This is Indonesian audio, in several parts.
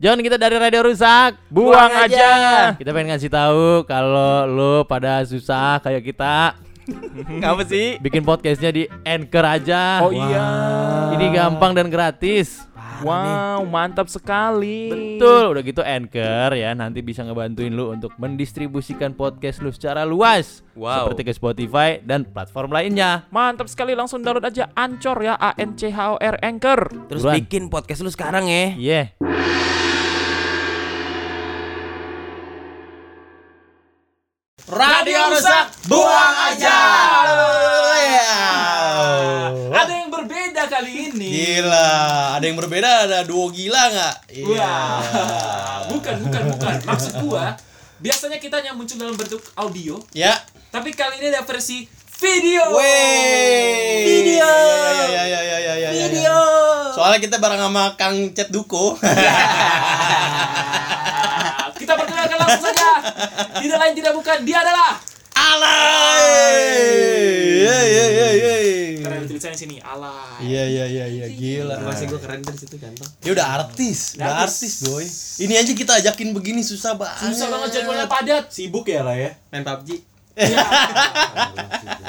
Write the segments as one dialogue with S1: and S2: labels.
S1: Jangan kita dari radio rusak,
S2: Buang aja.
S1: Kita pengen ngasih tahu kalau lu pada susah kayak kita,
S2: Ngapa sih?
S1: bikin podcastnya di Anchor aja.
S2: Oh iya.
S1: Ini gampang dan gratis.
S2: Wow, mantap sekali.
S1: Betul, udah gitu Anchor ya nanti bisa ngebantuin lu untuk mendistribusikan podcast lu secara luas.
S3: Wow.
S1: Seperti ke Spotify dan platform lainnya.
S2: Mantap sekali langsung download aja Ancor ya A N C H O R Anchor.
S3: Terus
S1: Buruan. Iya.
S3: bikin podcast lu sekarang ya.
S1: Yeah.
S3: Radio rusak, buang aja.
S4: Ada yang berbeda kali ini.
S5: Gila, ada yang berbeda, ada duo gila nggak? Iya.
S4: Wah, bukan, bukan, bukan. Maksud gua, biasanya kita hanya muncul dalam bentuk audio,
S5: Ya.
S4: tapi kali ini ada versi video.
S5: Wey.
S4: Video.
S2: Iya,
S5: Ya, ya, ya, ya, ya, ya, ya, ya. Soalnya kita bareng sama Kang Cet Duko.
S4: Ah, Kita perkenalkan langsung saja. Tidak lain tidak bukan, dia adalah
S5: Alay. Ya, ya, ya, ya.
S4: keren tulisannya sini, Alay.
S5: Iya, iya, iya, iya, gila.
S3: Masih gue keren dari situ ganteng.
S5: Dia udah artis, udah artis, doi. Ini aja kita ajakin begini susah banget.
S4: Susah banget jadwalnya padat.
S6: Sibuk ya lah ya.
S3: Main PUBG.
S4: Ya.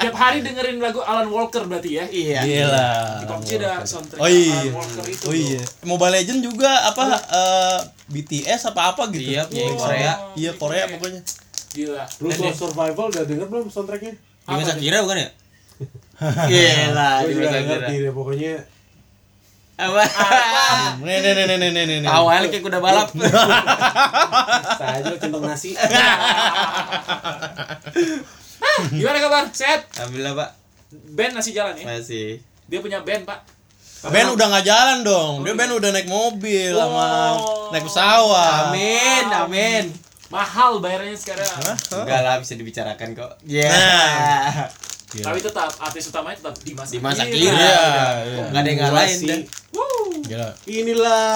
S4: Tiap hari dengerin lagu Alan Walker berarti ya.
S3: Iya.
S5: Gila.
S4: Di PUBG ada soundtrack
S5: Oh iya.
S4: Alan Walker itu.
S5: Oh
S4: loh.
S5: iya. Mobile Legend juga apa eh, BTS apa apa gitu.
S3: Iya, punya
S5: Wah.
S3: Korea.
S5: Iya, Korea pokoknya.
S4: Gila.
S6: Rules of Survival udah denger belum soundtracknya?
S4: Apa
S3: Gimana
S4: tuh?
S3: Sakira bukan ya? Gila,
S6: Gue
S3: Bima
S6: juga nggak
S3: Sakira.
S6: ngerti deh pokoknya.
S3: Apa?
S5: Nih nih nih nih nih nih, nih. nih.
S3: Awalnya kayak kuda balap.
S6: Saya aja centong nasi.
S4: Gimana kabar? Sehat?
S3: Alhamdulillah, Pak.
S4: Band masih jalan ya?
S3: Masih.
S4: Dia punya band, Pak.
S5: Ben udah nggak jalan dong.
S3: Oh,
S5: Dia
S3: iya.
S5: Ben udah naik mobil sama
S4: Oh.
S5: naik pesawat.
S3: Amin, amin.
S4: Mahal bayarnya sekarang.
S3: Enggak lah bisa dibicarakan kok. Iya.
S5: Nah.
S4: Tapi tetap artis utamanya tetap Dimas.
S3: Dimas
S4: Akira.
S3: Akira.
S5: Iya, iya.
S3: Enggak ada yang ngalahin
S6: Masih.
S3: deh.
S4: Wuh.
S5: Gila.
S6: Inilah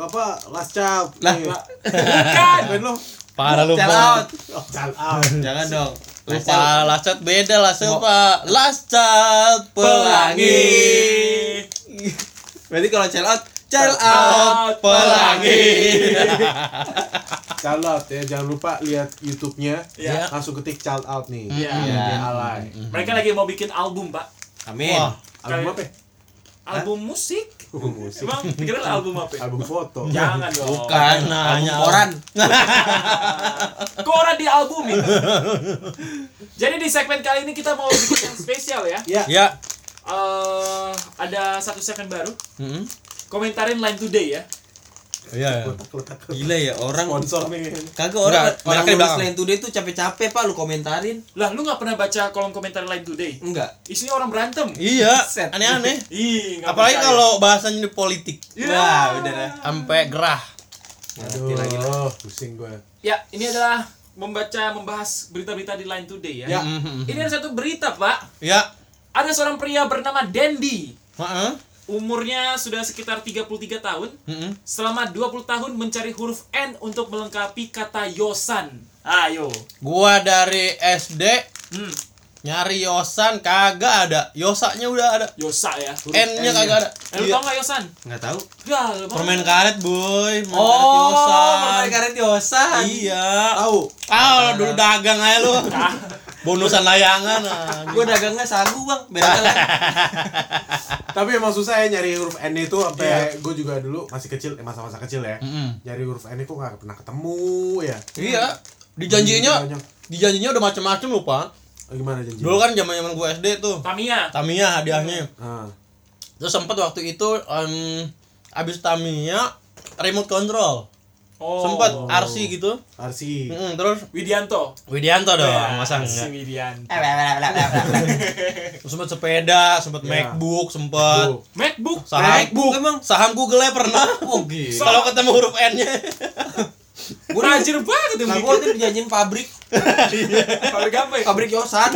S6: apa last child Iya. Kan?
S3: Lah,
S6: Nih,
S3: lah.
S4: Bukan.
S6: Ben lo
S5: Parah lu,
S3: Shout
S5: Pak.
S3: out.
S6: oh, child out.
S3: Jangan dong.
S5: Lupa Lascat beda lah Pak. Lascat
S3: Pelangi.
S5: pelangi.
S3: Berarti kalau chill out, chill out pelangi.
S6: Child out ya. Jangan lupa lihat YouTube-nya.
S4: Iya.
S6: Langsung ketik child out nih.
S4: Iya.
S6: Ini alay.
S4: Mereka lagi mau bikin album, Pak.
S3: Amin.
S5: Wah.
S6: Album apa? ya?
S4: Album musik.
S6: Album musik.
S4: Emang pikiran album apa? ya?
S6: Album foto.
S4: Jangan dong.
S3: Bukan,
S5: kan nanya.
S3: album koran.
S4: Koran di album ya. Jadi di segmen kali ini kita mau bikin yang spesial ya.
S6: Ya.
S5: Ya.
S4: Eh, ada satu segmen baru.
S3: Hmm?
S5: Mm-mm.
S4: Komentarin Line Today ya.
S5: Iya.
S6: Letak
S3: Gila ya orang
S6: sponsor nih.
S3: Kagak orang orang
S5: Enggak, belakang,
S3: nulis
S5: belakang.
S3: lain today tuh capek-capek pak lu komentarin
S4: Lah, lu nggak pernah baca kolom komentar Line Today?
S3: enggak
S4: Isinya orang berantem.
S5: Iya.
S3: Set.
S5: Aneh-aneh.
S4: Ih, nggak
S5: Apalagi
S4: percaya.
S5: kalau bahasanya di politik.
S4: Ya.
S3: Wah, udah dah.
S5: Sampai gerah.
S3: ngerti
S6: Aduh,
S3: lagi lah
S6: pusing gue.
S4: Ya, ini adalah membaca membahas berita-berita di Line Today ya.
S6: Ya.
S4: Ini ada satu berita, Pak.
S5: Ya.
S4: Ada seorang pria bernama Dendi.
S5: Heeh.
S4: Umurnya sudah sekitar 33 tahun.
S5: Mm-mm.
S4: Selama 20 tahun mencari huruf N untuk melengkapi kata Yosan.
S5: Ah,
S4: Ayo.
S5: Gua dari SD
S4: Hmm,
S5: nyari Yosan kagak ada. Yosaknya udah ada.
S4: Yosa ya. Huruf.
S5: N-nya kagak ada.
S4: Eh, lu
S5: Iya.
S4: tau nggak Yosan?
S3: nggak tahu
S4: Gal, banget.
S5: Permen karet, boy. Permen
S3: oh permen
S5: karet Yosan.
S3: karet yosan
S5: Iya.
S6: Tahu.
S5: Ah, lu dulu dagang aja lu. Bonusan layangan. ah.
S3: gua dagangnya sagu bang beda kan
S6: Tapi emang susah ya nyari huruf N itu sampai gue juga dulu masih kecil, eh, masa-masa kecil ya.
S5: Mm-mm.
S6: Nyari huruf N itu gak pernah ketemu ya.
S5: Iya. Dijanjinya
S6: Banyak.
S5: dijanjinya udah macam-macam lu, Pak.
S6: Oh, gimana janji?
S5: Dulu kan zaman-zaman gua SD tuh.
S4: Tamiya.
S5: Tamiya hadiahnya.
S6: Ah.
S5: Terus sempet waktu itu em, abis Tamiya remote control.
S4: Oh.
S5: Sempet RC gitu.
S6: Arsi.
S5: Mm-mm, terus
S4: Widianto.
S5: Widianto dong,
S4: Ya,
S5: Iya, masa
S4: si
S5: enggak?
S4: Widianto.
S5: Terus sempet sepeda, sempet
S6: Ya.
S5: MacBook, sempet
S6: Tuh.
S4: MacBook.
S5: saham.
S3: MacBook.
S5: Emang saham Google pernah. Kalau ketemu huruf N-nya.
S4: Gua rajin banget ya bikin.
S3: Nah, gua tuh dijanjin pabrik,
S4: Pabrik apa ya?
S3: pabrik yosan.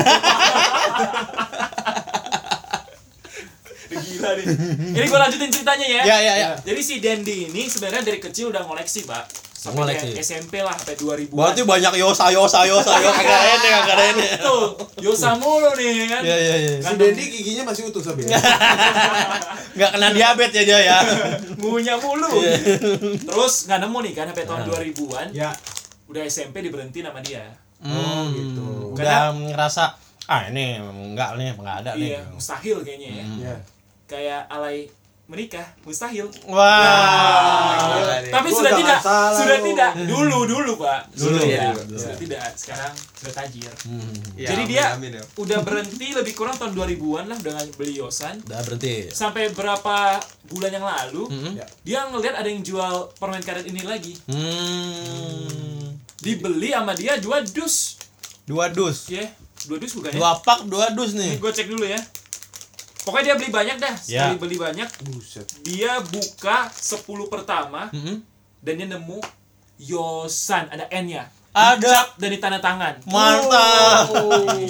S4: Gila nih. Ini gua lanjutin ceritanya ya.
S5: ya, ya, ya.
S4: Jadi si Dendi ini sebenarnya dari kecil udah koleksi, Pak. sampai
S5: Boleh,
S4: kayak
S5: sih.
S4: SMP lah sampai 2000
S5: Berarti banyak yosa yosa yosa
S4: Iya,
S5: yosa kagak ada kagak ada.
S4: tuh Yosa mulu nih ya kan
S5: Iya iya iya.
S6: Si Dendi giginya masih utuh tapi ya.
S5: Enggak kena diabetes ya dia ya.
S4: ngunyah mulu
S5: Iya.
S4: terus nggak nemu nih kan sampai tahun 2000-an
S6: ya.
S4: udah SMP diberhenti nama dia
S6: Oh, gitu.
S5: Hmm, Udah ngerasa ah ini enggak nih enggak ada Hmm. nih.
S4: iya mustahil kayaknya ya
S6: Ya.
S4: kayak alay menikah mustahil Ah,
S5: Ah,
S4: Nah. iya.
S5: Wah.
S4: tapi
S6: Gua
S4: sudah
S6: udah
S4: tidak
S6: nggak salah
S4: sudah
S6: lu.
S4: tidak dulu dulu pak
S5: Dulu, iya,
S4: sudah tidak
S5: dulu.
S4: sudah tidak sekarang sudah tajir
S5: Iya,
S3: Ya,
S4: Jadi dia-
S3: amin, amin, ya.
S4: udah berhenti lebih kurang tahun 2000-an lah udah nggak beli yosan
S5: Udah berhenti.
S4: sampai berapa bulan yang lalu
S5: Hmm.
S6: Ya.
S4: dia ngelihat ada yang jual permen karet ini lagi
S5: Hmm.
S4: dibeli sama dia dua dus
S5: Dua dus.
S4: ya dua dus bukan ya
S5: Dua pak dua dus
S4: ini
S5: nih.
S4: gue cek dulu ya pokoknya dia beli banyak dah sekali
S5: Ya.
S4: beli banyak
S6: Buset.
S4: dia buka 10 pertama
S5: Hmm.
S4: dan dia nemu yosan ada n nya
S5: Ada
S4: dan di tanda tangan
S5: mantap.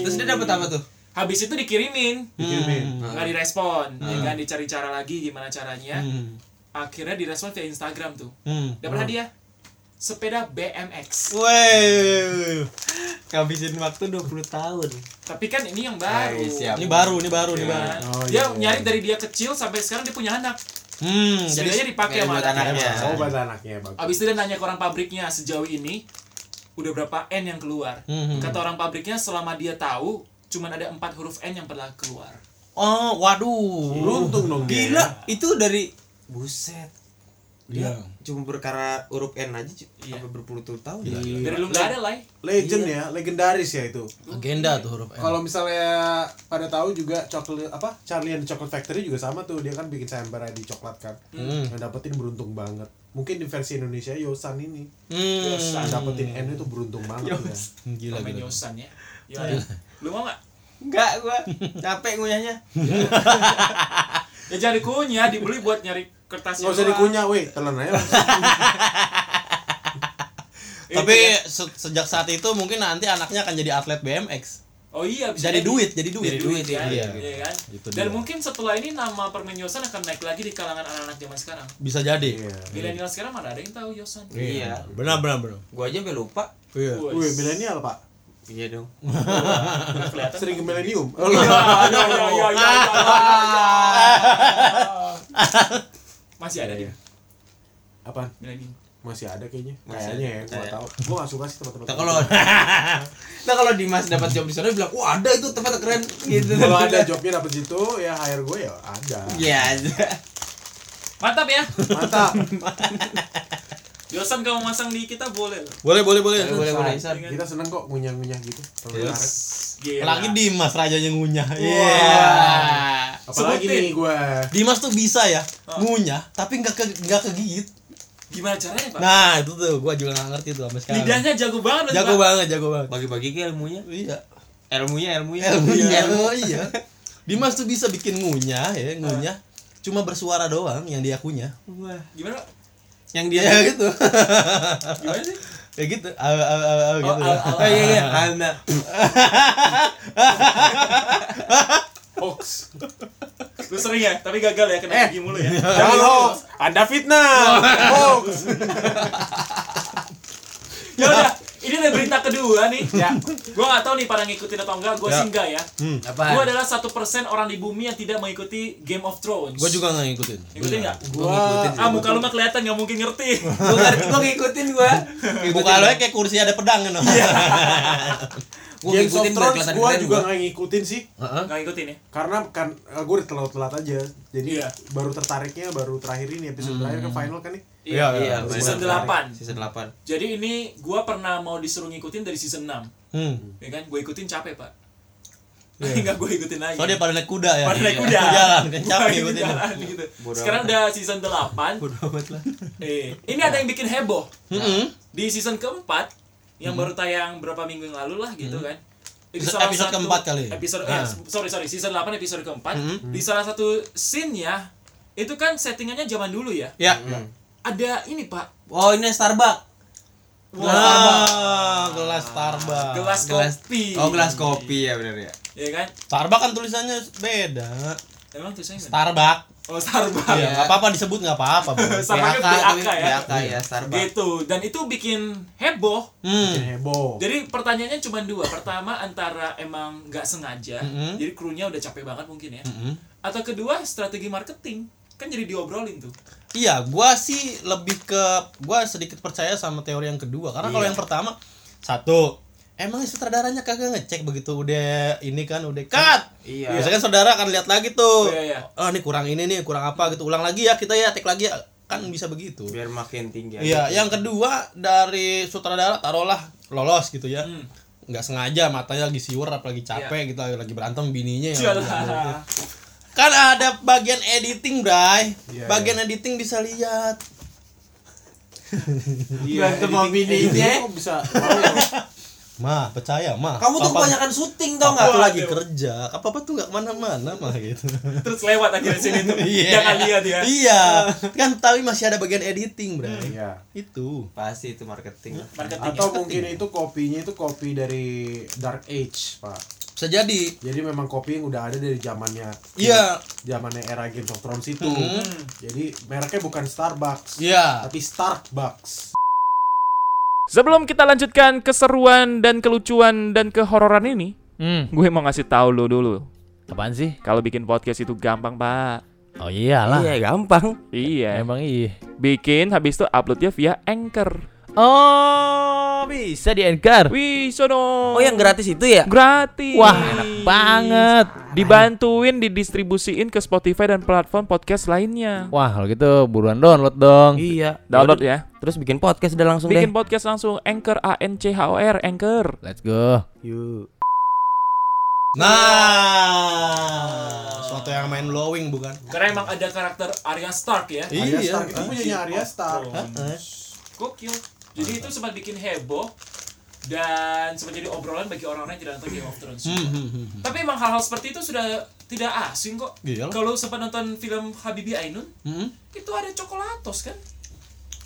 S3: Terus dia dapat apa tuh?
S4: habis itu dikirimin
S6: Dikirimin.
S4: nggak direspon ya kan dicari cara lagi gimana caranya
S5: Hmm.
S4: akhirnya direspon via Instagram tuh
S5: Hmm.
S4: dapat hadiah sepeda BMX
S5: Woi. Ngabisin waktu 20 tahun.
S4: tapi kan ini yang baru
S3: Hai, siap.
S5: Ini baru, ini baru, ini
S4: Ya.
S5: baru.
S6: Oh,
S4: dia
S6: iya, iya.
S4: nyari dari dia kecil sampai sekarang dia punya anak
S5: Hmm, jadi
S4: sepedanya dipakai
S3: sepeda
S4: sama
S3: buat
S4: anaknya
S5: anaknya.
S6: Oh, bahasa anaknya bagus.
S4: abis itu dia nanya ke orang pabriknya sejauh ini udah berapa n yang keluar
S5: Hmm.
S4: kata orang pabriknya selama dia tahu cuman ada empat huruf n yang pernah keluar
S5: Oh, waduh.
S6: Beruntung dong dia.
S3: Gila,
S6: ya.
S3: itu dari buset. Dia cuma perkara huruf N aja cu-
S4: Iya.
S3: sampai berpuluh-puluh tahun.
S4: dari lu nggak ada lah
S6: Iya. Legend ya, legendaris ya itu.
S5: Legenda tuh huruf N.
S6: Kalau misalnya pada tahu juga coklat apa Charlie and the Chocolate Factory juga sama tuh dia kan bikin sayembara di coklat kan. Yang dapetin beruntung banget. Mungkin di versi Indonesia Yosan ini
S5: Hmm.
S6: yang dapetin N itu beruntung banget ya.
S5: Gila
S4: main
S5: gila.
S4: yosan ya Gimana? lu mau nggak
S3: Enggak gua capek ngunyahnya.
S4: ya jangan dikunyah dibeli buat nyari kertas
S6: Nggak usah
S4: doang.
S6: dikunyah, weh, telan aja. langsung.
S4: Itu
S5: Tapi
S3: Iya.
S4: ya.
S5: se- sejak saat itu mungkin nanti anaknya akan jadi atlet BMX.
S4: oh iya bisa
S5: Jadi duit, jadi duit.
S4: jadi duit ya,
S5: Iya.
S4: iya kan
S5: Itu
S4: dan
S5: dia.
S4: mungkin setelah ini nama permen yosan akan naik lagi di kalangan anak-anak zaman sekarang
S5: Bisa jadi.
S6: Iya.
S4: milenial sekarang mana ada yang tahu yosan
S3: Iya.
S5: Benar benar benar.
S3: Gua aja sampai lupa.
S5: Iya.
S4: Wih,
S6: Wih, milenial, Pak.
S3: Iya dong.
S4: nggak kelihatan
S6: Sering ke milenium.
S4: Ya, ya, ya, ya, ya, ya, ya. masih ada di
S6: Apaan?
S4: milenium
S6: Masih ada kayaknya.
S3: Masih
S6: Kayaknya ya, gua nggak tahu. Gua nggak suka sih tempat-tempat.
S5: Nah, kalau
S3: Nah kalau Dimas dapat job di sana dia bilang, "Wah, ada itu tempat keren." Gitu.
S6: kalau ada jobnya dapet situ, ya hire gue ya ada.
S3: Iya aja.
S4: mantap ya
S6: Mantap.
S4: yosan kamu masang di kita boleh loh
S5: boleh boleh boleh.
S3: Boleh boleh San.
S4: Dengan-
S6: Kita seneng kok ngunyah-ngunyah gitu. Terus.
S4: Gila.
S5: Lagi Iya. Dimas rajanya ngunyah. Iya.
S6: Apalagi
S4: Sebutin.
S6: nih gue.
S5: Dimas tuh bisa ya ngunyah tapi nggak ke nggak kegigit.
S4: gimana caranya pak
S5: Nah, itu tuh gua juga nggak ngerti tuh sampai sekarang.
S4: lidahnya jago banget loh,
S5: Jago
S4: Pak.
S5: banget, jago banget.
S3: Bagi-bagi ke ilmunya.
S5: Iya.
S3: Ilmunya, ilmunya.
S5: Ilmunya. iya. Dimas tuh bisa bikin ngunyah ya, ngunyah. Cuma bersuara doang yang dia kunyah.
S3: Wah.
S4: gimana Pak?
S3: Yang dia
S5: Ya gitu.
S4: gimana sih
S5: ya gitu. Au, au, au, au, gitu.
S4: au, au.
S3: Oh iya iya. Anak.
S6: Hoax.
S4: lu sering ya tapi gagal ya
S5: Eh.
S4: kena gigi mulu ya
S6: Jangan hoax. Ada fitnah. hoax.
S4: ya udah ini udah berita kedua nih ya gue nggak tahu nih pada ngikutin atau enggak gue
S5: Ya.
S4: sih enggak ya
S3: Apa?
S4: gue adalah satu persen orang di bumi yang tidak mengikuti Game of Thrones
S5: Gua juga nggak ngikutin.
S4: ngikutin nggak
S6: Gua.
S4: ah muka lu mah kelihatan nggak mungkin ngerti
S3: Gua ngerti, gua ngikutin gua.
S5: Buka lo kayak kursi ada pedang kan.
S3: Gua ngikutin
S6: Games of
S3: biar
S6: Thrones
S3: kelihatan
S6: gue
S3: keren
S6: juga
S3: gua.
S6: nggak ngikutin sih.
S4: nggak ngikutin ya
S6: Karena kan gue udah telat-telat aja. Jadi
S4: Iya.
S6: baru tertariknya baru terakhir ini episode terakhir kan final kan nih.
S5: Iya,
S3: Iya,
S5: iya.
S4: season
S3: benar.
S4: 8
S3: Season 8.
S4: jadi ini gue pernah mau disuruh ngikutin dari season 6
S5: Hmm.
S4: ya kan gue ikutin capek pak nggak gue ikutin lagi
S5: Soalnya Iya. dia pada naik kuda ya.
S4: pada naik
S5: Iya.
S4: kuda
S5: Jalan kan
S4: Pada
S5: capek
S4: naik
S5: ngikutin.
S4: jalan, gitu.
S3: Bodo
S4: sekarang udah season 8
S5: Bodoh amat lah.
S4: eh, ini ada yang bikin heboh
S5: Heeh.
S4: di season keempat yang baru tayang berapa minggu yang lalu lah gitu kan Di
S5: Episode-
S4: salah
S5: episode
S4: satu-
S5: keempat kali.
S4: episode eh,
S5: Ah.
S4: sorry sorry season 8 episode keempat di salah satu scene ya itu kan settingannya zaman dulu ya
S5: Ya.
S4: ada ini pak
S3: Oh, ini Starbucks.
S5: Ah, Wah, gelas Starbucks.
S4: gelas,
S3: gelas-
S4: kopi
S3: Oh, gelas kopi ya benar ya.
S4: ya kan
S5: Starbucks kan tulisannya beda.
S4: Emang tuh saya
S5: Starbucks.
S4: Oh Starbucks.
S5: Iya, nggak apa-apa disebut nggak apa-apa. Bro.
S4: Sama
S3: BAK,
S4: BAK
S3: tapi
S4: ya.
S3: BAK ya Starbucks
S4: Gitu. Dan itu bikin heboh.
S5: Hmm.
S6: heboh
S4: Jadi pertanyaannya cuma dua. Pertama antara emang nggak sengaja,
S5: Mm-mm.
S4: jadi krunya udah capek banget mungkin ya.
S5: Mm-mm.
S4: Atau kedua strategi marketing kan jadi diobrolin tuh.
S5: Iya, gua sih lebih ke gua sedikit percaya sama teori yang kedua karena kalau yang pertama satu emang sutradaranya kagak ngecek begitu udah ini kan udah cut.
S3: Iya
S5: Biasanya kan saudara akan lihat lagi tuh.
S4: Iya, iya.
S5: Oh, ini kurang ini nih, kurang apa gitu. Ulang lagi ya kita ya, take lagi ya. Kan bisa begitu.
S3: biar makin tinggi
S5: Iya,
S3: aja.
S5: yang kedua dari sutradara taruhlah lolos gitu ya.
S4: Hmm.
S5: nggak sengaja matanya lagi siur apalagi capek gitu lagi berantem bininya
S4: Iya
S5: yang
S4: Jalah.
S5: kan ada bagian editing Bray
S6: Iya,
S5: bagian editing bisa lihat
S3: Berantem sama bininya.
S6: Iya, Kok bisa mau ya?
S5: mah percaya mah
S3: kamu tuh
S5: Papa-
S3: kebanyakan syuting tau
S5: papa ya.
S3: nggak
S5: tuh lagi kerja apa apa tuh nggak kemana-mana mah gitu
S4: Terus lewat akhirnya sini tuh.
S5: Iya.
S4: Jangan lihat ya.
S5: iya kan tapi masih ada bagian editing Bray
S6: Iya.
S5: itu
S3: pasti itu marketing
S4: Marketing.
S6: atau mungkin itu kopinya itu kopi dari dark age pak
S5: bisa jadi
S6: jadi memang kopi yang udah ada dari zamannya
S5: iya
S6: zamannya era Game of Thrones itu
S5: Hmm.
S6: jadi mereknya bukan Starbucks
S5: iya
S6: tapi Starbucks
S2: Sebelum kita lanjutkan keseruan dan kelucuan dan kehororan ini,
S1: Hmm,
S2: gue mau ngasih tahu lo dulu.
S1: apaan sih?
S2: Kalau bikin podcast itu gampang, Pak.
S1: Oh iyalah.
S7: Iya gampang.
S2: Iya.
S1: Emang iya.
S2: Bikin habis itu uploadnya via Anchor.
S1: Oh, bisa di anchor.
S2: Wih,
S4: iya,
S2: sono.
S7: Oh yang gratis itu ya?
S2: gratis.
S1: Wah, enak banget.
S2: Dibantuin didistribusiin ke Spotify dan platform podcast lainnya.
S1: Wah, kalau gitu buruan download dong.
S7: Iya.
S2: Download
S7: Yaudah,
S2: ya.
S7: Terus bikin podcast udah langsung
S2: Bikin
S7: deh.
S2: podcast langsung Anchor A N C H O R Anchor.
S1: Let's go.
S7: Yuk.
S5: nah suatu yang main blowing bukan Iya.
S4: Karena emang ada karakter Arya Stark ya.
S6: Arya Stark itu punyanya Arya Stark
S5: Heeh.
S4: Gokil. Jadi itu sempat bikin heboh dan sempat jadi obrolan bagi orang-orang yang tidak nonton Game of Thrones.
S5: Hmm, hmm, hmm.
S4: Tapi emang hal-hal seperti itu sudah tidak asing kok.
S5: Iya lah.
S4: Kalau sempat nonton film Habibie Ainun,
S5: Hmm.
S4: itu ada coklatos kan?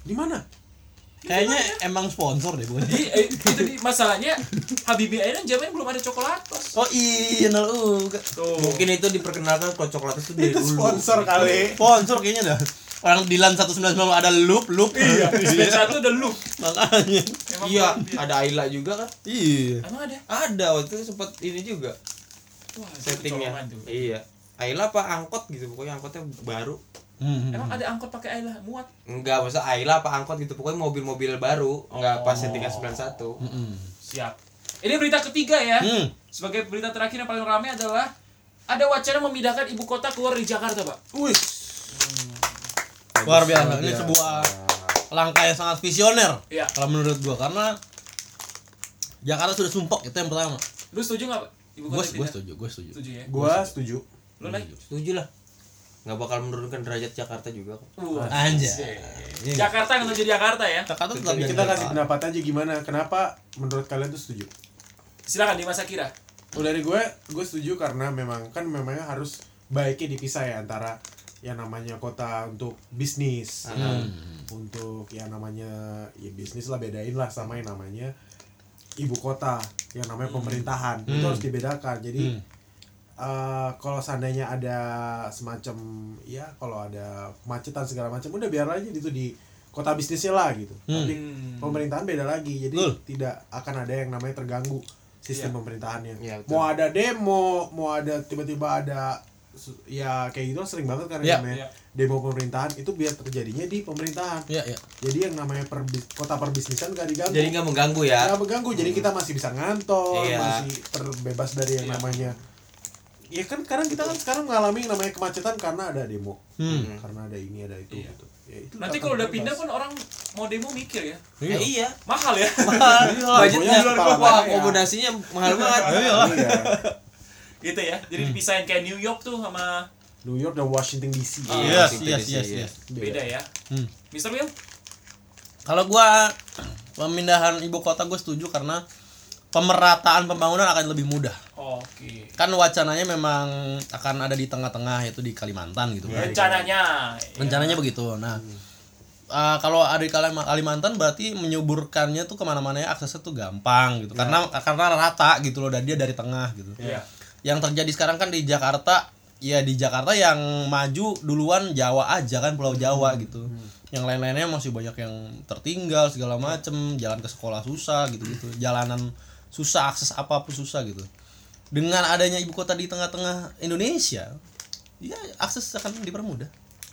S6: di mana
S5: kayaknya emang sponsor deh bukan
S4: Di, eh, itu di, masalahnya Habibie Ainun zaman belum ada coklatos.
S5: Oh iya, nol uga.
S4: Tuh.
S3: mungkin itu diperkenalkan kalau coklat itu dari dulu
S6: sponsor kali
S5: Sponsor kayaknya dah. Orang Dilan 190 ada loop loop. Iya.
S4: Season satu udah look.
S5: Makanya.
S4: Emang ya?
S3: iya
S4: belum dia.
S3: ada Ayla juga kan
S5: Iya.
S4: Emang ada.
S3: ada waktu itu sempat ini juga
S4: Wah, itu
S3: settingnya
S4: kecolongan tuh.
S3: iya Ayla apa angkot gitu pokoknya angkotnya baru
S5: Hmm.
S4: Emang ada angkot pakai air lah, muat.
S3: enggak masa Ayla apa angkot gitu pokoknya mobil-mobil baru enggak pas settingan 91
S4: Siap. Ini berita ketiga ya.
S5: Hmm.
S4: Sebagai berita terakhir yang paling ramai adalah ada wacana memindahkan ibu kota keluar dari Jakarta, Pak.
S6: wih
S5: Luar biasa.
S3: Iya.
S5: Ini sebuah langkah yang sangat visioner.
S4: Iya.
S5: Kalau menurut gua karena Jakarta sudah sumpok itu yang pertama.
S4: Lu setuju nggak, Pak? Ibu
S5: Gue
S4: kota
S5: gue
S4: pindah?
S5: setuju, gue setuju.
S4: Setuju ya.
S6: gua setuju
S4: Lu naik?
S3: setuju lah nggak bakal menurunkan derajat Jakarta juga kok
S4: Wah.
S5: Anjay. Ah, Iya.
S4: Jakarta nggak jadi Jakarta ya.
S5: Jakarta tetap
S6: kita kasih pendapat aja gimana kenapa menurut kalian tuh setuju
S4: Silakan di masa kira.
S6: Kalau dari gue, gue setuju karena memang kan memangnya harus baiknya dipisah ya antara yang namanya kota untuk bisnis, untuk yang namanya ya bisnis lah bedain lah sama yang namanya ibu kota, yang namanya
S5: Hmm.
S6: pemerintahan itu harus dibedakan. Jadi eh, kalau seandainya ada semacam ya kalau ada kemacetan segala macam, udah biar aja itu di kota bisnisnya lah gitu. Tapi
S3: Hmm.
S6: pemerintahan beda lagi, jadi
S5: Hmm. Betul.
S6: tidak akan ada yang namanya terganggu sistem pemerintahannya.
S3: Iya, betul.
S6: mau ada demo, mau ada tiba-tiba ada su- ya kayak gitu kan sering banget kan
S5: Iya.
S6: yang namanya demo pemerintahan itu biar terjadinya di pemerintahan.
S5: Iya, iya.
S6: Jadi yang namanya perbi- kota perbisnisan gak diganggu.
S3: jadi nggak mengganggu ya
S6: Nggak mengganggu, jadi kita masih bisa ngantor,
S3: Iya.
S6: masih terbebas dari yang namanya Ya kan sekarang kita kan sekarang mengalami yang namanya kemacetan karena ada demo.
S5: Hmm.
S6: Karena ada ini, ada
S3: Iya.
S6: itu gitu. Ya, itu
S4: Nanti
S6: akan
S4: kalau udah
S6: terbebas.
S4: pindah pun orang mau demo mikir ya.
S3: Ya, iya
S4: Mahal ya.
S5: Iya,
S3: budgetnya
S6: Demonya
S3: wah
S6: kepala daerah.
S3: akomodasinya mahal banget
S6: Iya.
S4: gitu ya.
S5: Hmm.
S4: Jadi dipisahin kayak New York tuh sama
S6: New York dan Washington DC.
S4: Ah.
S5: Yes,
S3: Washington
S5: yes,
S3: DC,
S5: yes,
S3: iya.
S5: yes.
S4: beda ya.
S5: Hmm.
S4: Mister Will,
S5: Kalau gua pemindahan ibu kota gue setuju karena pemerataan pembangunan akan lebih mudah.
S4: oke.
S5: kan wacananya memang akan ada di tengah-tengah yaitu di Kalimantan gitu
S4: Iya,
S5: kan.
S4: Rencananya.
S5: rencananya begitu nah eh, kalau ada di Kalim- Kalimantan berarti menyuburkannya tuh kemana-mana ya, aksesnya tuh gampang gitu karena karena rata gitu loh dan dia dari tengah gitu
S4: Iya.
S5: yang terjadi sekarang kan di Jakarta ya di Jakarta yang maju duluan Jawa aja kan Pulau Jawa gitu yang lain-lainnya masih banyak yang tertinggal segala macem jalan ke sekolah susah gitu gitu jalanan susah akses apapun susah gitu dengan adanya ibu kota di tengah-tengah Indonesia ya akses akan dipermudah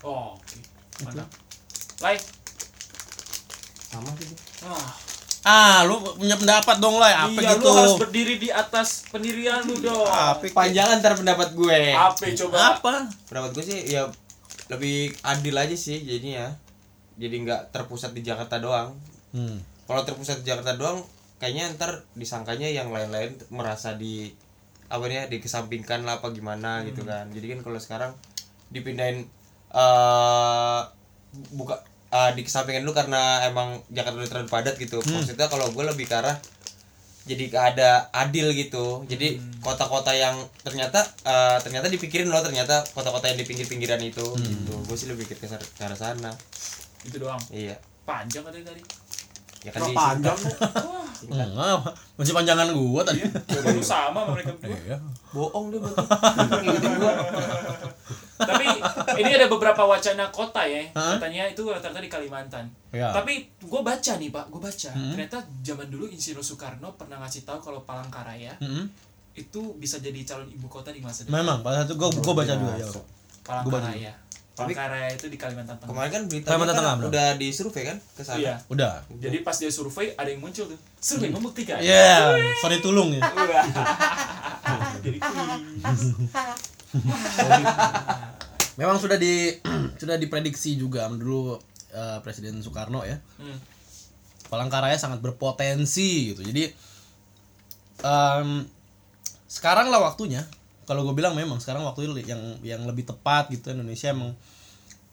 S4: Oh, oke. Mantap. Like.
S3: sama gitu
S4: Ah,
S5: ah lu punya pendapat dong lah apa
S4: iya,
S5: gitu
S4: lu harus berdiri di atas pendirian lu dong.
S5: apa
S3: panjang antar pendapat gue
S4: Apa coba?
S5: apa
S3: pendapat gue sih ya lebih adil aja sih jadinya jadi nggak terpusat di Jakarta doang
S5: hmm.
S3: kalau terpusat di Jakarta doang kayaknya ntar disangkanya yang lain-lain merasa di apa nih ya, dikesampingkan lah apa gimana gitu kan jadi kan kalau sekarang dipindahin eh buka eh, dikesampingkan dulu karena emang Jakarta udah terlalu padat gitu maksudnya kalau gue lebih ke arah jadi ada adil gitu jadi kota-kota yang ternyata eh, ternyata dipikirin loh ternyata kota-kota yang di pinggir-pinggiran itu gitu gue sih lebih ke ke arah sana
S4: Itu doang.
S3: iya
S4: Panjang katanya tadi.
S3: ya kan
S6: Kenapa
S3: di
S6: panjang lu?
S5: Enggak, masih panjangan gua tadi
S4: Coba lu sama sama mereka berdua.
S5: Iya.
S3: bohong dia berarti
S4: Tapi ini ada beberapa wacana kota ya.
S5: Hah?
S4: Katanya itu rata-rata di Kalimantan.
S5: Ya.
S4: Tapi gue baca nih pak, gue baca
S5: Hmm?
S4: ternyata zaman dulu Insinyur Soekarno pernah ngasih tahu kalau Palangkaraya
S5: Mm-mm.
S4: itu bisa jadi calon ibu kota di masa depan.
S5: memang pada satu gua gua baca juga ya
S4: Palangkaraya.
S3: Tapi-
S4: Palangkaraya itu di Kalimantan Tengah.
S3: kemarin kan berita
S5: Kalimantan Tengah,
S3: kan
S5: benar.
S3: udah disurvei kan ke sana
S4: Iya.
S5: udah
S4: Jadi pas dia survei ada yang muncul tuh.
S5: Hmm.
S4: Survei membuktikan.
S5: ya sorry tulung ya
S4: Jadi
S5: Memang sudah di sudah diprediksi juga dulu eh, Presiden Soekarno ya.
S4: Hmm.
S5: Palangkaraya sangat berpotensi gitu. Jadi em, sekarang lah waktunya. Kalau gue bilang memang sekarang waktunya li- yang yang lebih tepat gitu Indonesia emang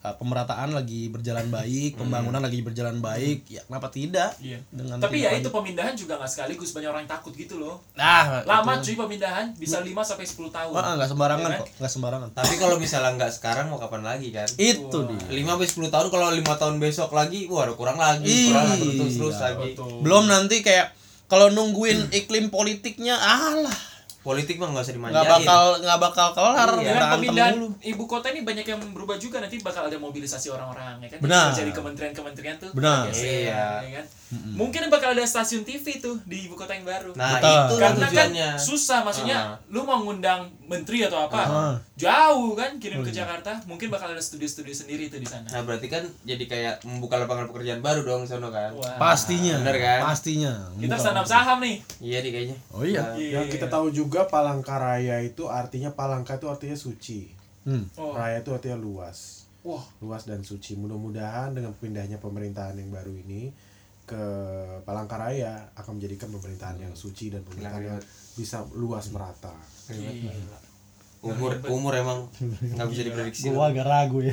S5: eh, pemerataan lagi berjalan baik, pembangunan lagi berjalan baik. Ya kenapa tidak?
S4: Hmm. Iya.
S5: Dengan
S4: Tapi ya
S5: tindakan-
S4: itu pemindahan juga nggak sekaligus banyak orang yang takut gitu loh.
S5: Nah,
S4: Lama
S5: itu-
S4: cuy pemindahan bisa 5 sampai 10 tahun.
S5: Wah, nggak sembarangan
S4: Iya kan?
S5: kok, nggak sembarangan.
S3: tapi kalau misalnya nggak sekarang mau kapan lagi kan
S5: Itu dia.
S3: 5 sampai 10 tahun kalau lima tahun besok lagi wah ada kurang lagi kurang lagi
S5: Iya.
S3: terus terus lagi
S5: Belum nanti kayak kalau nungguin iklim politiknya alah
S3: politik mah nggak usah
S5: nggak
S3: dimanjain
S5: bakal nggak bakal kelar
S3: Iya.
S5: kita
S4: Dengan
S5: antem
S4: kan pemindahan
S5: dulu.
S4: ibu kota ini banyak yang berubah juga nanti bakal ada mobilisasi orang-orang ya kan.
S5: Benar.
S4: Jadi kementerian-kementerian tuh.
S5: Benar.
S4: geser,
S3: Iya.
S4: ya kan? Mungkin bakal ada stasiun TV tuh di ibu kota yang baru.
S3: nah
S5: Betul.
S3: itu
S4: Karena
S3: lah
S4: kan
S3: tujuannya
S4: susah maksudnya
S3: Ah.
S4: lu mau ngundang menteri atau apa
S5: Ah.
S4: jauh kan kirim
S5: Oh, iya.
S4: ke Jakarta mungkin bakal ada studio-studio sendiri tuh di sana.
S3: nah berarti kan jadi kayak membuka lapangan pekerjaan baru dong sono kan
S4: Wah.
S5: pastinya
S3: Bener kan?
S5: pastinya
S4: Nah, Kita
S5: Bukan-
S4: harus tanam saham nih.
S3: iya nih kayaknya
S5: oh iya
S3: Ya,
S6: Yang Ya, kita tahu juga Palangkaraya itu artinya Palangka itu artinya suci.
S5: hmm.
S4: Oh.
S6: Raya itu artinya luas.
S4: Wah.
S6: Luas dan suci. Mudah-mudahan dengan pindahnya pemerintahan yang baru ini ke Palangkaraya akan menjadikan pemerintahan yang suci dan pemerintahan yang bisa luas merata.
S5: Iya,
S4: Gila.
S3: umur umur emang nggak bisa diprediksi
S5: gua agak ragu ya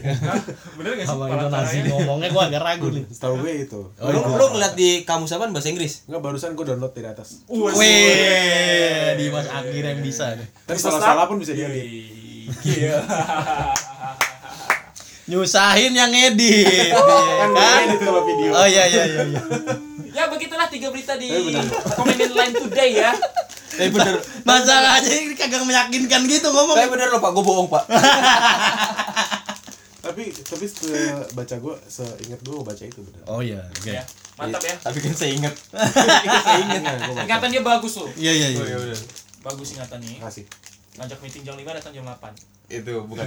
S4: Bener gak sih?
S5: sama
S4: Palangkaraya?
S5: intonasi ngomongnya gua agak ragu nih
S6: Setahu gue itu.
S3: lu lu ngeliat di kamus apa bahasa Inggris
S6: Enggak barusan gue download dari atas.
S5: Wih, di mas akhir yang bisa nih.
S6: Dan
S4: Bisa
S6: salah-salah
S4: start?
S6: pun bisa diedit.
S5: Iya.
S4: Wih, Gila.
S5: Nyusahin yang edit,
S6: Kan gue
S5: kan?
S6: edit sama video.
S5: Oh iya iya iya. iya.
S4: ya begitulah tiga berita di
S6: Eh, bener.
S4: komen line today ya.
S3: eh bener
S5: Masalahnya ini kagak meyakinkan gitu ngomong.
S3: eh bener loh pak gue bohong pak
S6: Tapi tapi se- baca gue seingat gue baca itu benar.
S5: Oh iya, oke.
S4: ya. Mantap ya.
S6: Iya.
S3: tapi kan saya inget saya inget
S4: Ingatan dia bagus loh.
S5: Iya iya iya.
S4: Bagus ingatannya.
S6: Kasih.
S4: Ngajak meeting jam 5 datang jam 8.
S3: itu bukan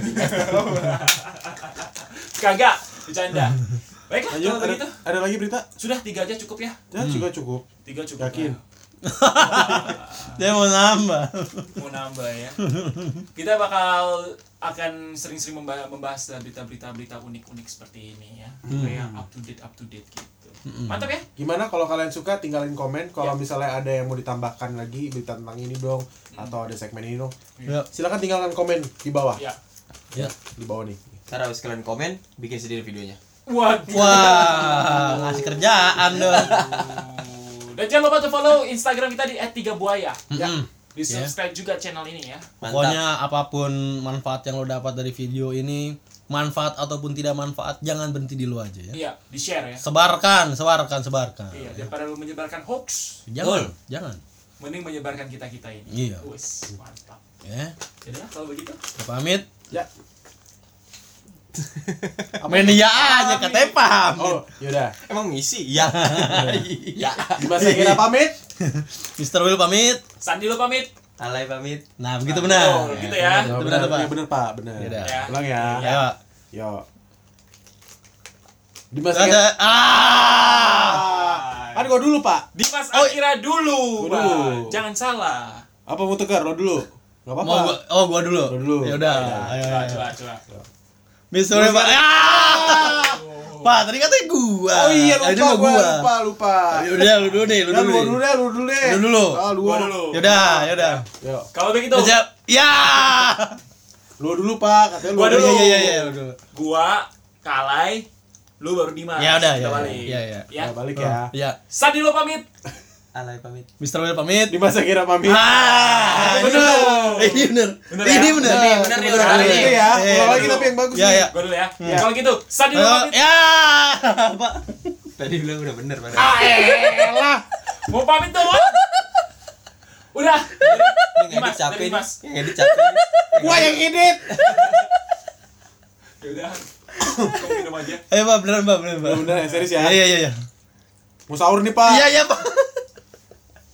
S4: Kagak, bercanda. Baiklah,
S6: Lanjut
S4: kalau
S6: ada,
S4: begitu.
S6: ada lagi berita?
S4: Sudah tiga aja cukup ya.
S6: Ya
S5: Hmm.
S6: juga cukup.
S4: Tiga cukup. ya.
S6: Yakin?
S4: lah.
S5: Dia mau nambah.
S4: mau nambah ya kita bakal akan sering-sering memba- membahas berita-berita berita unik-unik seperti ini ya
S6: Hmm.
S4: kayak up to date up to date gitu mantap ya
S6: Gimana kalau kalian suka tinggalin komen kalau misalnya ada yang mau ditambahkan lagi berita tentang ini dong
S4: Hmm.
S6: atau ada segmen ini dong.
S5: Ya.
S6: Silakan tinggalkan komen di bawah.
S4: ya
S6: Di bawah nih.
S3: Ntar harus kalian komen, bikin sendiri videonya.
S4: waduh
S5: Wah, ngasih kerjaan dong.
S4: dan jangan lupa untuk follow instagram kita di @tigabuaya
S6: Ya.
S4: di subscribe juga channel ini ya
S3: Mantap.
S5: Pokoknya apapun manfaat yang lo dapat dari video ini, manfaat ataupun tidak manfaat, jangan berhenti di lo aja ya.
S4: iya di share ya
S5: Sebarkan, sebarkan, sebarkan.
S4: iya daripada lu menyebarkan hoax
S5: Jangan, jangan.
S4: mending menyebarkan kita kita ini
S5: Iya.
S4: Wes, mantap
S5: Ya,
S4: jadi ya, kalau begitu
S5: gua pamit.
S6: Ya.
S5: Mania aja katanya paham.
S6: Oh, yaudah.
S3: Emang misi? Iya.
S5: Ya.
S6: Bahasa kita pamit.
S5: Mr. Will pamit.
S4: Sandi lo pamit.
S3: Alay pamit.
S5: Nah, begitu benar.
S4: Oh, gitu ya.
S5: Iya, Benar,
S6: benar,
S5: Pak.
S6: ya, benar, Pak. Benar.
S5: Yaudah.
S4: Ya.
S6: Ulang ya.
S5: Ayo.
S6: Yo. Dimas
S5: Ada.
S6: Akira.
S5: Ah.
S6: Kan gua dulu, Pak.
S4: Dimas
S5: Oh,
S4: Akira dulu,
S6: Gua dulu.
S4: Pak. Jangan salah.
S6: Apa mau tegar lo dulu? Enggak apa-apa.
S5: Mau gua oh gua dulu.
S6: Gua dulu.
S5: Ya udah. Ayo.
S4: Coba,
S5: ayo.
S4: coba, coba.
S5: Mr. Will Pak. Ah. Pak, tadi katanya gua.
S6: Oh iya, lupa
S5: Tadi mah
S6: gua, lupa, lupa.
S5: Ya udah lu dulu deh, lu
S6: Ya, lu
S5: dulu.
S6: dulu
S5: deh.
S6: deh, lu dulu deh.
S5: Lu dulu.
S6: Ah, lu
S4: Gua
S6: dulu.
S4: dulu.
S5: Ya udah, ya udah.
S6: Yo.
S4: Kalau begitu,
S5: Siap. Ya.
S6: Lu dulu, Pak. Katanya lu
S4: Gua
S5: Iya
S4: dulu.
S5: iya iya iya, lu dulu.
S4: gua Kalai, lu baru Dimas.
S5: Ya udah, ya,
S4: Kita
S5: ya.
S4: balik.
S5: Ya, ya.
S4: Ya.
S6: Nah, balik ya.
S5: Ya.
S4: Sandi lo pamit.
S3: Alay pamit.
S5: Mr. Will pamit.
S6: Dimas Akira pamit.
S5: Ah,
S6: Iya,
S5: bener. Ini bener.
S4: Bener ya?
S5: Ini bener.
S3: Bener nih, bener nih, bener
S5: Bener.
S3: nih.
S6: Itu ya.
S5: Eh,
S6: Ulang lagi
S5: bener.
S6: tapi yang bagus Iya,
S5: Ya,
S6: nih.
S5: ya.
S4: Gua dulu ya. Kalau gitu, Sandi lo
S5: Ayo,
S4: pamit.
S5: Ya. Pak.
S3: Tadi bilang udah bener pada.
S4: Ah, elah. Mau pamit tuh, Wan. Udah.
S3: Ini
S4: Dimas,
S3: ngedit capek.
S4: dari
S3: nih.
S4: Dimas.
S3: Yang
S6: Iya,
S3: ngedit capek. nih.
S6: Gua yang edit.
S4: Ya udah. Kau minum aja.
S5: Ayo, Eh, Pak, beneran, Pak, beneran, Pak.
S6: Bener, serius ya.
S5: Ya, ya, ya, ya.
S6: Mau sahur nih, Pak.
S5: Iya, iya, Pak.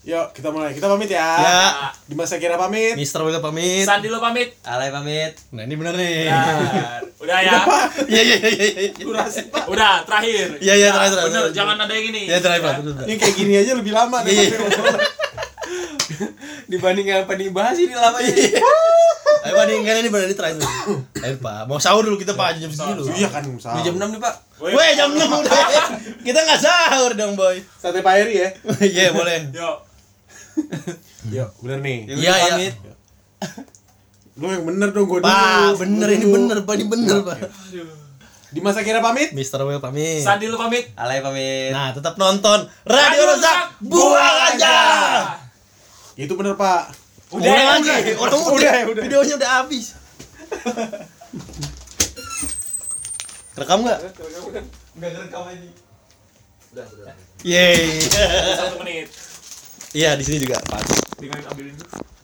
S6: Yuk, kita mulai. Kita pamit ya.
S5: Ya.
S6: Dimas Akira pamit.
S5: Mister Will pamit.
S4: Sandi lo pamit.
S3: Alay pamit.
S5: Nah, ini bener nih.
S6: Iya.
S4: Benar. Udah ya.
S5: Iya, iya, iya, iya, iya.
S4: Udah, terakhir.
S5: Iya, iya, terakhir,
S4: Bener,
S5: terakhir.
S4: jangan ada yang ini.
S5: Ya, terakhir, Pak. bener, Pak.
S6: Ini kayak gini aja lebih lama
S5: Iya,
S6: nih.
S5: iya.
S3: Dibanding yang apa dibahas ini lama ini.
S5: Ayo, Pak, ini kan ini bener ini terakhir. Ayo, Pak. Mau sahur dulu kita, Pak, jam segini dulu.
S6: Iya kan, sahur.
S3: Udah jam 6 nih, Pak.
S5: Weh, jam 6 udah. Kita nggak sahur dong, boy.
S6: Sate Pak Eri ya.
S5: Iya, boleh.
S4: Yuk.
S6: Yuk, bener nih.
S3: Ya
S5: Iya,
S3: udah,
S5: iya.
S3: pamit.
S6: Lu yang bener dong gua dulu.
S5: Pak, bener ini bener, Pak, ini bener, Pak.
S6: Dimas Akira pamit.
S5: Mister Will pamit.
S4: Sandi lo pamit.
S3: Alay pamit.
S5: Nah, tetap nonton Radio Rusak buang aja.
S6: Itu bener, Pak.
S4: Udah,
S5: Udah lagi, orang udah, udah. Videonya udah habis. Rekam nggak?
S4: Iya.
S5: Enggak rekam ini. Yeay.
S4: Satu menit.
S5: Iya, di sini juga pas.
S4: Tinggal ambilin dulu.